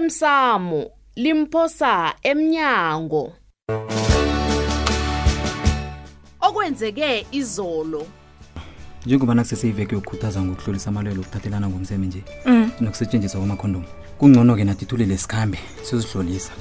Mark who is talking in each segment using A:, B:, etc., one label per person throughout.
A: osemsamo limphosa emnyango okwenzeke izolo
B: njengoba nakuseseyiveke yokukhuthaza ngokuhlolisa amalwelo okuthathelana ngomseme nje
C: Mm.
B: nokusetshenziswa kwamakhondomu kungcono-ke nathi thulele sikhambe sizihlolisa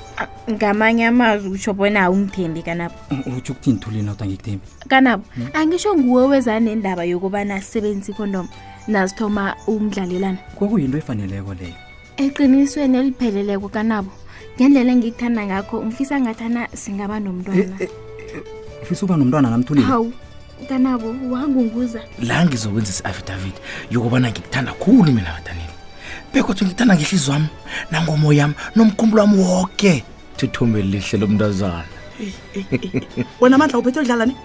C: ngamanye amazwi utsho bona awungithembi kanabo
B: U- utho ukuthini thuleni awuda ngikuthembi
C: kanabo
B: Hmm.
C: angisho nguwe weza nendaba yokubana sisebenzisa ikondom nazithoma umdlalelana
B: kwakuyinto efaneleko leyo
C: eqinisweni elipheleleko kanabo ngendlela engikuthanda ngakho ngifisa ngathana singaba nomntwana
B: Eh, eh, eh, ufisa uba nomntwana namthuleni
C: hawu kanabo wangunguza
D: la ngizokwenza isi-affidavit yokubana ngikuthanda khulu mina badanile bekodwa ngikuthanda ngehlizi wami nangomoya wami nomkhumbulo wami woke thithombe lihle lomntazana
E: wena amandla uphethe yodlala ne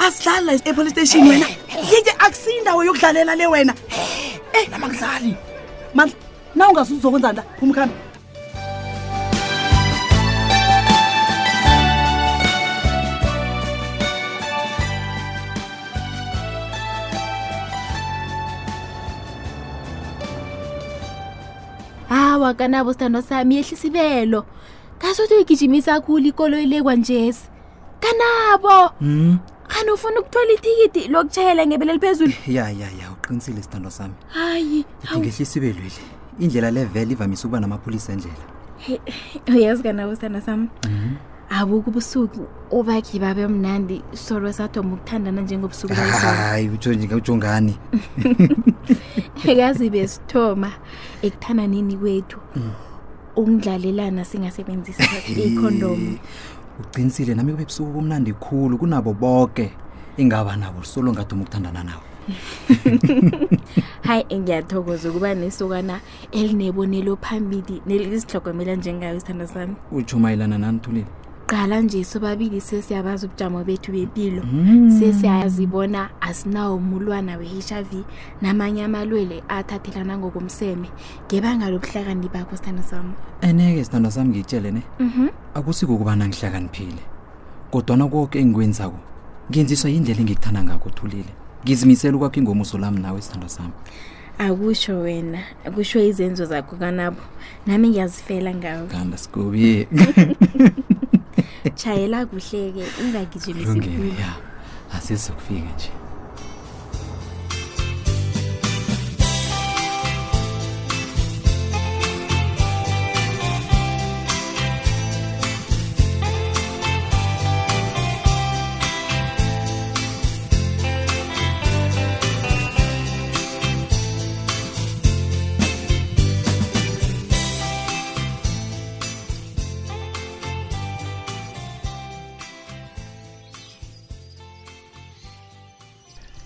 E: asidlali la epolice station wena yeke akusiyindawo yokudlalela le wena
D: Eh, nama kudlali
E: mandla na ungazuzi uzokwenza nda phumkhambi
C: hawa kanabo sithando sami yehlisibelo ngasuthi uyigijimisa khulu ikoloyi le kwanjesi kanabo
B: Mm.
C: khani ufuna ukuthola ithikiti lokutshayela ngebele liphezulu
B: ya ya ya uqinisile isithando sami
C: hayi hawu
B: ngehlisa ibelwile indlela le vele ivamise ukuba namapholisa endlela
C: uyazi kanabo sithanda sami abuke ubusuku ubakhi babe mnandi solo sathoma ukuthandana njengobusuku bayisolo
B: hayi utho nje utho ngani
C: kazi besithoma ekuthandaneni kwethu ukundlalelana singasebenzisa ikhondomu
B: uqinisile nami kube busuku bomnandi khulu kunabo boke ingaba nabo solo ngathoma ukuthandana nawo
C: hayi ngiyathokoza ukuba nesokana elinebonelo phambili nelisihlogomela njengayo isithando sami
B: utsho mayelana nani thuleni
C: qala nje sobabili sesiyabazi ubujamo bethu bempilo sesiyazibona asinawo umulwana we-h i v namanye amalwele athathelana ngokomseme ngebanga lobuhlakani bakho sithando sami
B: ene-ke sithando sami ngitshele ne akusiko ukubana ngihlakaniphile kodwana koke engikwenzako ngenziswa yindlela engikuthanda ngakho thulile ngizimisele ukwakho ingomuso lami nawe sithando sami
C: akusho wena kusho izenzo zakho kanabo nami ngiyazifela ngawo
B: kanda sikobi
C: tshayela kuhle-ke ungagijimisi
B: kulungile
C: khulu
B: ya asizokufika nje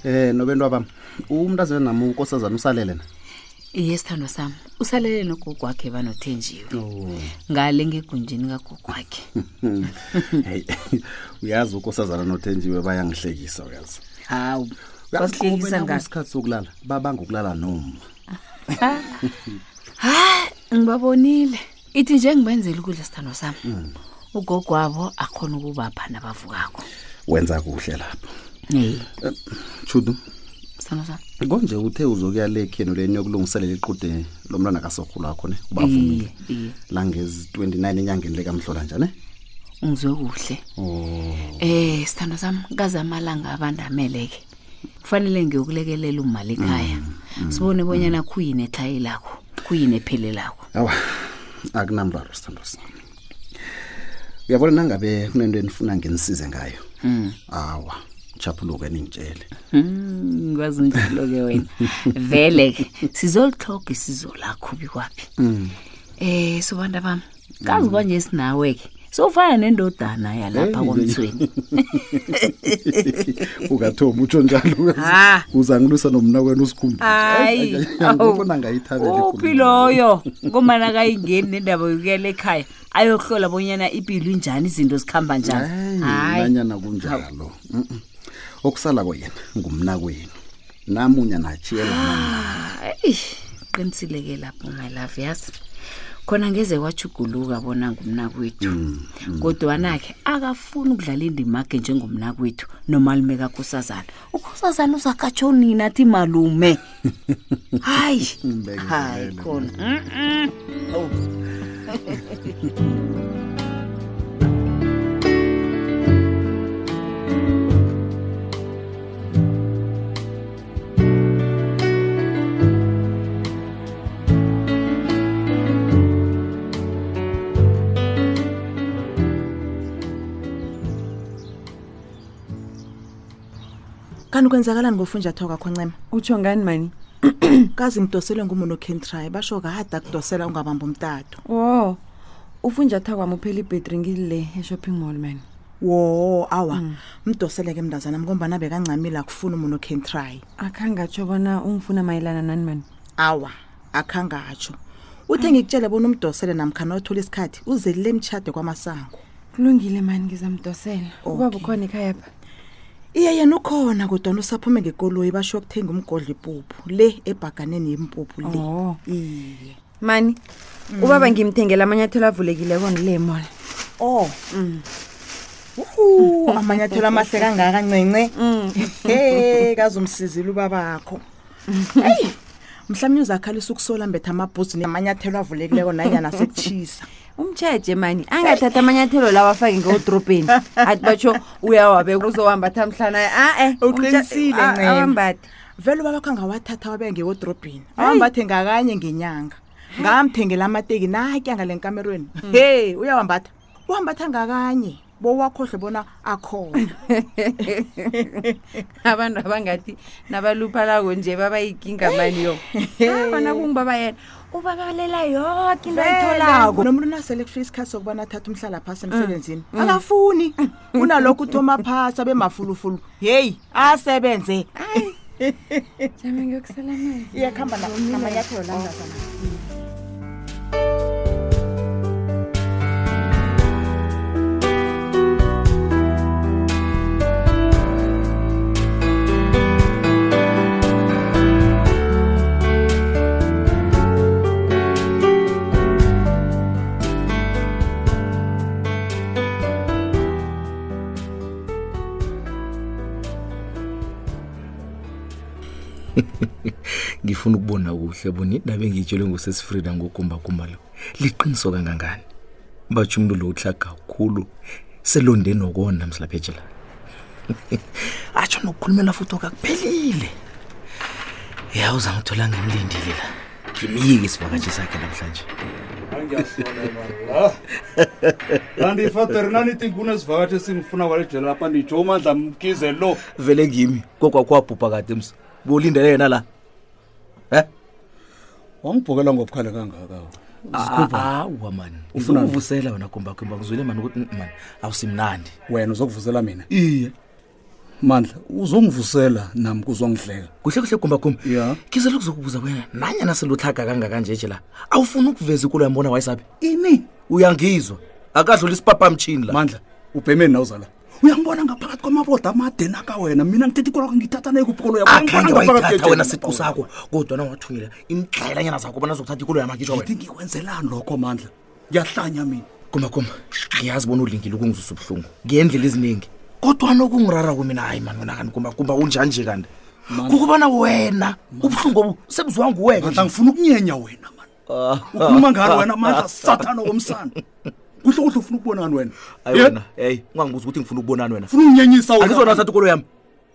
F: Eh nobendwa bami, umntazana nami unkosazana usalele na.
G: iye sithando sami usalele nogogo wakhe banothenjiwe
F: Oh.
G: ngale ngegunjini kagogo wakhe
F: Hmm. Hey. Uyazi unkosazana noThenjiwe bayangihlekisa uyazi.
G: hawu
F: Uyasihlekisa
G: wasihlekisa ngasi
F: ngasikhathi sokulala, babanga ukulala noma.
G: ha ngibabonile ithi nje ngibenzela ukudla sithando sami ugogo wabo akhona ukubapha nabavukako
F: Wenza kuhle lapho.
G: eyi
F: Chudu,
G: sithando sami
F: konje uthe uzokuya le khenu leni yokulungiselela iqude lomntwana kasokhulu wakho ne, ubavumile.
G: iye iye
F: La ngezi 29 enyangeni lekamhlola njane.
G: ungizwe kuhle
F: Oh.
G: Eh sithando sami kaze amalanga abandameleke. Kufanele ngiyokulekelela umali ekhaya. Sibone bonyana kuyini ethayi lakho, kuyini ephele lakho.
F: Awa. Akunamraro sithando sami. Uyabona nangabe kunento enifuna ngenisize ngayo.
G: Mm.
F: Awa, chapuluke ningitshele.
G: Ngikwazi njalo Hmm, ke wena. Vele ke sizolithoga isizo lakho bikwapi.
F: Mm.
G: Eh sobantu bami, kazi kanje sinawe ke. Sofana nendodana yalapha
F: Hey.
G: komthweni.
F: ukathoma utsho njalo
G: Ha.
F: uzangilwisa nomna kwena eh,
G: Hayi.
F: usikhumbuzaona ngayithabele
G: Uphi loyo? Ngomana kayingeni nendaba yokuyela ekhaya. Ayohlola bonyana ipilo injani izinto zikhamba njani. Hayi.
F: nanyana kunjalo Mm-mm. okusala koyena ngumna kwenu namunya natshiyela
G: hayi qinisileke lapho my love yazi khona ngeze wajuguluka bona ngumnakwethu kodwana-ke akafuni ukudlala indimake njengomnakwethu nomalume kakhosazana ukhosazana uzakatsho nini athi malume hayi hayi khona Mm-mm. Oh.
E: kanti kwenzakalani ngofunjathwa kwakho ncema
H: utsho ngani mani
E: kazi ngidoselwe ngumonokentry basho kada kudosela ungabamba umtato
H: wo ufunjatha kwami uphela ibhetri ngile e-shopping mall mani
E: wo awa mdoseleke mntazana mkombana bekancamile akufuni umonokentry
H: akhangatsho bona ungifuna mayelana nani mani
E: awa akhangatsho uthe ngikutshele bona umdosele namkhana othola isikhathi uzelile emtshade kwamasango
H: kulungile mani ngizamdosela ubaba ukhona ekhayapha
E: iye yena ukhona kodwana usaphume ngekoloyi basho yokuthenga umgodla ipuphu le ebhaganeni yempuphu le
H: o
E: iye
H: mani
E: Mm.
H: ubaba ngimthengela amanyathelo avulekileko ndile mola
E: o Uhu, Mm. amanyathelo amahle kangaka ncinci he kazumsizile ubabakho eyi mhlawumbe uzakhalisa ukusola mbetha amabhuzi namanyathelo avulekileko nanyana sekutshisa
H: umtsheje mani angathatha amanyathelo lawo afake ngewodrobheni athi batsho uyawabeka uzohambatha mhlana a-e
E: Uqinisile, Ncema.
H: awambathe
E: vele ubabakho angawathatha wabeka ngewodrobhini awambathe ngakanye ngenyanga ngamthengela amateki natyanga le nkamerweni he uyawambatha uhambatha ngakanye bowakhohlwe bona akhona
H: abantu abangathi nabaluphalako nje babayikinga mani yo abona kungibaba yena ubabalela yoke into ayitholako
E: nomuntu nasele kufika isikhathi sokubana athathe umhlala phasi emsebenzini akafuni unalokho uthoma phasi abe mafulufulu heyi asebenze
H: jama ngiyokusela manje
E: iyakuhamba namanyathelo langazana
I: ngifuna ukubona kuhle bona indaba engiyitshelwe ngusesifrida ngokumbakumba lo liqiniso kangangani batsho umntu lo utla kakhulu selonde nokona msilaphetshela atsho nokukhulumela futhi okakuphelile ya uzangithola ngimlindile la ngimyike isivakatshi sakhe namhlanje
J: kanti ifader nanithi kunesivakathi esingifuna kwalijela lapha nditsho umandla mkize lo
I: vele ngimi kokwakwabhubha kade ms bolindele yena la um
J: wangibhokela ngobukhale kangaka
I: Ah, awa mani
J: Ufunani?
I: ufuvusela wena kumbakumba kuzwile mani ukuthi "Mm, mani awusimnandi
J: wena uzokuvusela mina
I: iye
J: mandla uzongivusela nam kuzongidleka
I: kuhle kuhle kumbakumba
J: Ya.
I: kizelo kuzokubuza kwena nanyana selutlhaga kangakanje la awufuni ukuveza ikulo yambona wayesabi
J: ini
I: uyangizwa akadlula isipapamtshini la
J: mandla ubhemeni nawuzala uyangibona ngaphakathi kwamaboda amade naka wena mina ngithetha ikoloko ngithatha nayikupikolo
I: akhange wayithatha wena siqu sakho kodwana wathunyela imtlayelanyana zakho bona zokuthatha ikulo yamakitshwa wena
J: ngithi ngikwenzelani lokho mandla ngiyahlanya mina
I: kumbakumba ngiyazi bona ulingile ukungizwisa ubuhlungu ngendlela eziningi kodwana okungirara kumina hayi mani wena kanti kumbakumba unjanje kanti kukubana wena ubuhlungu obu sebuzwa nguweka
J: mandla ngifuna ukunyenya wena mani ukhuluma ngalo wena mandla sathana womsana kuhle kuhle ufuna ukubonani wena
I: hayi wena eyi ungangibuza ukuthi ngifuna ukubonani wena
J: funa unyenyisa
I: angizona thatha ikolo yami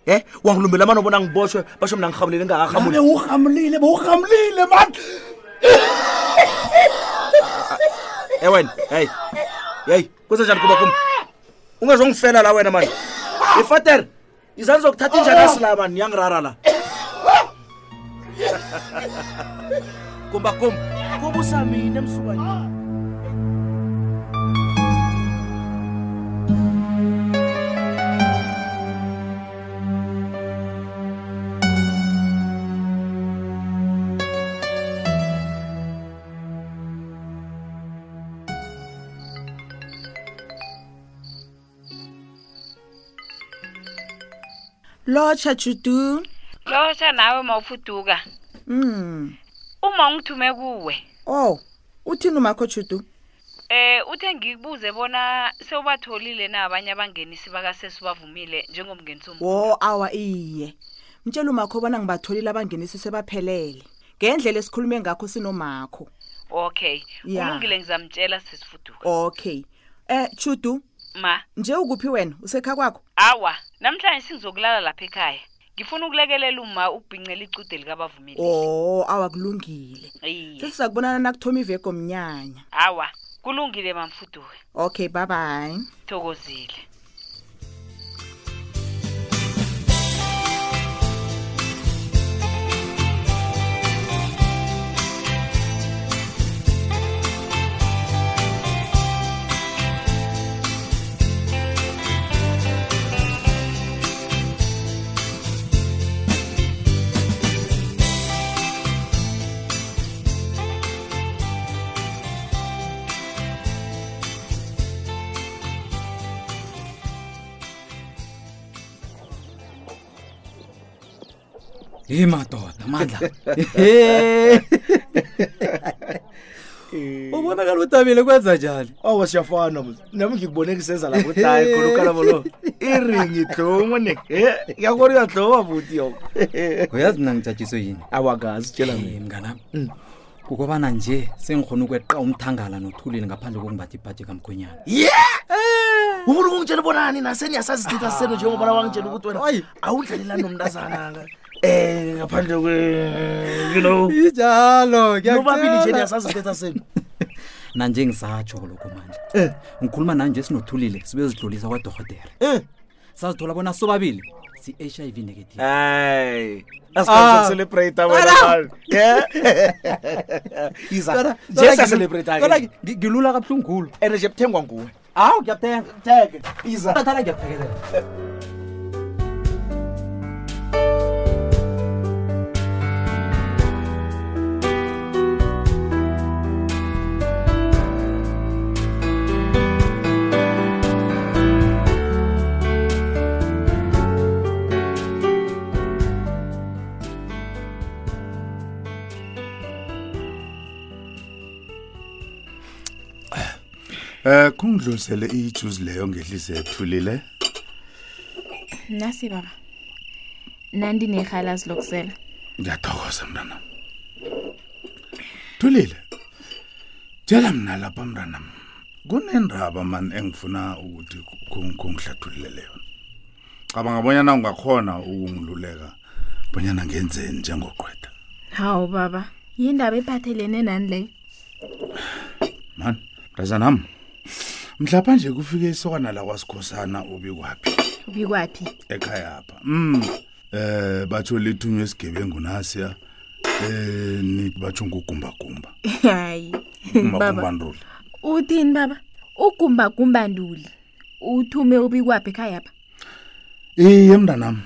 I: em wangilumbela mani obona ngiboshwe basho mna ngihamulele
J: Ngabe
I: ngakahamule
J: uhamlile bowuhamlile mani
I: e wena heyi yeyi kwenza njani kuba kum ungezongifela la wena mani ifatere izani zokuthatha injanasi la mani yangirara la kumba kum kubusamine emsukanye
E: lotsha judu
K: losha nawe mawufuduka
E: um
K: uma ungithume kuwe
E: o Oh, uthini umakho judu
K: eh uthe ngikubuze bona sewubatholile na abanye abangenisi bakasesi bavumile njengomngenisi omu-
E: wo awa iye mtshela umakho bona ngibatholile abangenisi sebaphelele ngendlela esikhulume ngakho sinomakho
K: okay
E: Ya.
K: ulungile ngizamtshela sesifuduka
E: okay eh chudu
K: ma
E: nje ukuphi wena usekha kwakho
K: awa namhlanje singizokulala lapha ekhaya ngifuna ukulekelela uma ukubhincela icude likabavumile
E: o awakulungile
K: iye
E: sesiza kubonana nakuthoma iveko mnyanya
K: awa kulungile mamfuduke
E: okay babayi
K: thokozile
B: ye madoda mandla Ehe. ubonakala utabile kwenza njani
I: awa siyafana bo. nami ngikubone kusenza lapho tayi khulukalabo lo iringi dlomo ne Eh, ngiyakubona uyadloma buti yo
B: uyazi mna ngijajiswe yini
I: awakazi tshela mina
B: mnganam Mm. kukobana nje sengikhona ukweqa umthangala nothulile ngaphandle kokungibathi ibhaji kamkhwenyana
I: ye ufuna ukungitshela bonani naseni yasazi isititha senu njengobana wangitshela ukuthi wena awudlalelani nomntazananga um ngaphandle kwe you know
B: injalo
I: nobabili nje niyasazi isititha senu
B: nanje ngisatsho lokho manje ngikhuluma nani nje sinothulile sibe zidlulisa kwadorhotere sazithola bona sobabili si-h i v negative
I: hayi asikhamsacelebrate wena
B: Kodwa-
I: iza
B: kodwa
I: nje siyacelebrate
B: kodwa ngi- ngilula kabuhlungu khulu
I: and nje buthengwa nguwe
B: hawu ngiyakuthenga
I: teke iza
B: thathala ngiyakuphekelela
F: Eh kungidlulisele ijuice leyo ngehlise ethulile.
C: nasi baba nandinerhalazi lokusela
F: Ngiyathokoza mntana. Thulile. Tshela mina lapha mntana. Kunendaba man engifuna ukuthi kung- kungihlathululele yona. Cabanga bonyana ungakhona ukungiluleka bonyana ngenzeni njengoqwetha.
C: hawu baba yindaba ephathelene nani leyo
F: Man, mntazanami. Mhlapa nje kufike isokana la kwasikhosana ubi kwaphi
C: ubikwaphi
F: ekhaya apha. Mm. Eh batho lithunywe isigebengu nasiya. Eh ni batho ngugumba gumba.
C: hayi baba
F: umakumbanduli
C: uthini baba ugumbagumba-nduli uthume ubikwaphi ekhayapha
F: iye mntanami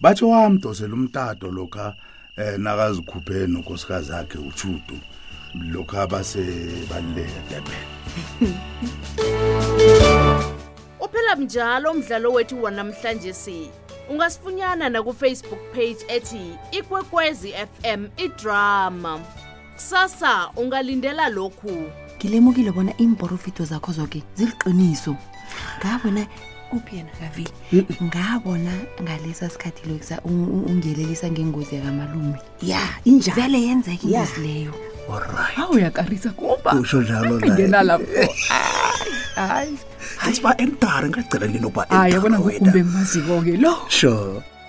F: batsho wamdosela umtato lokha um nakazikhuphe nonkosikazi akhe utshudu lokha basebaluleka durban
G: Mm. uphela mnjalo umdlalo wethu wanamhlanje si ungasifunyana nakufacebook page ethi ikwekwezi fm idrama kusasa ungalindela lokhu
H: ngilemukile bona iimporofito zakho zoke ziliqiniso ngabona kuphi yena kavile ngabona ngalesa sikhathi loksa ungelelisa ngengozi yakamalume ya injani vele yenzeka
L: Ya.
H: ingozi leyo
L: hawu yakarisa kuba
M: usho njalo
L: ngena lapho hayi
M: hayi ba emdari ngagcina ninoba
L: hayi yabona ngokumbe maziko-ke lo
M: sure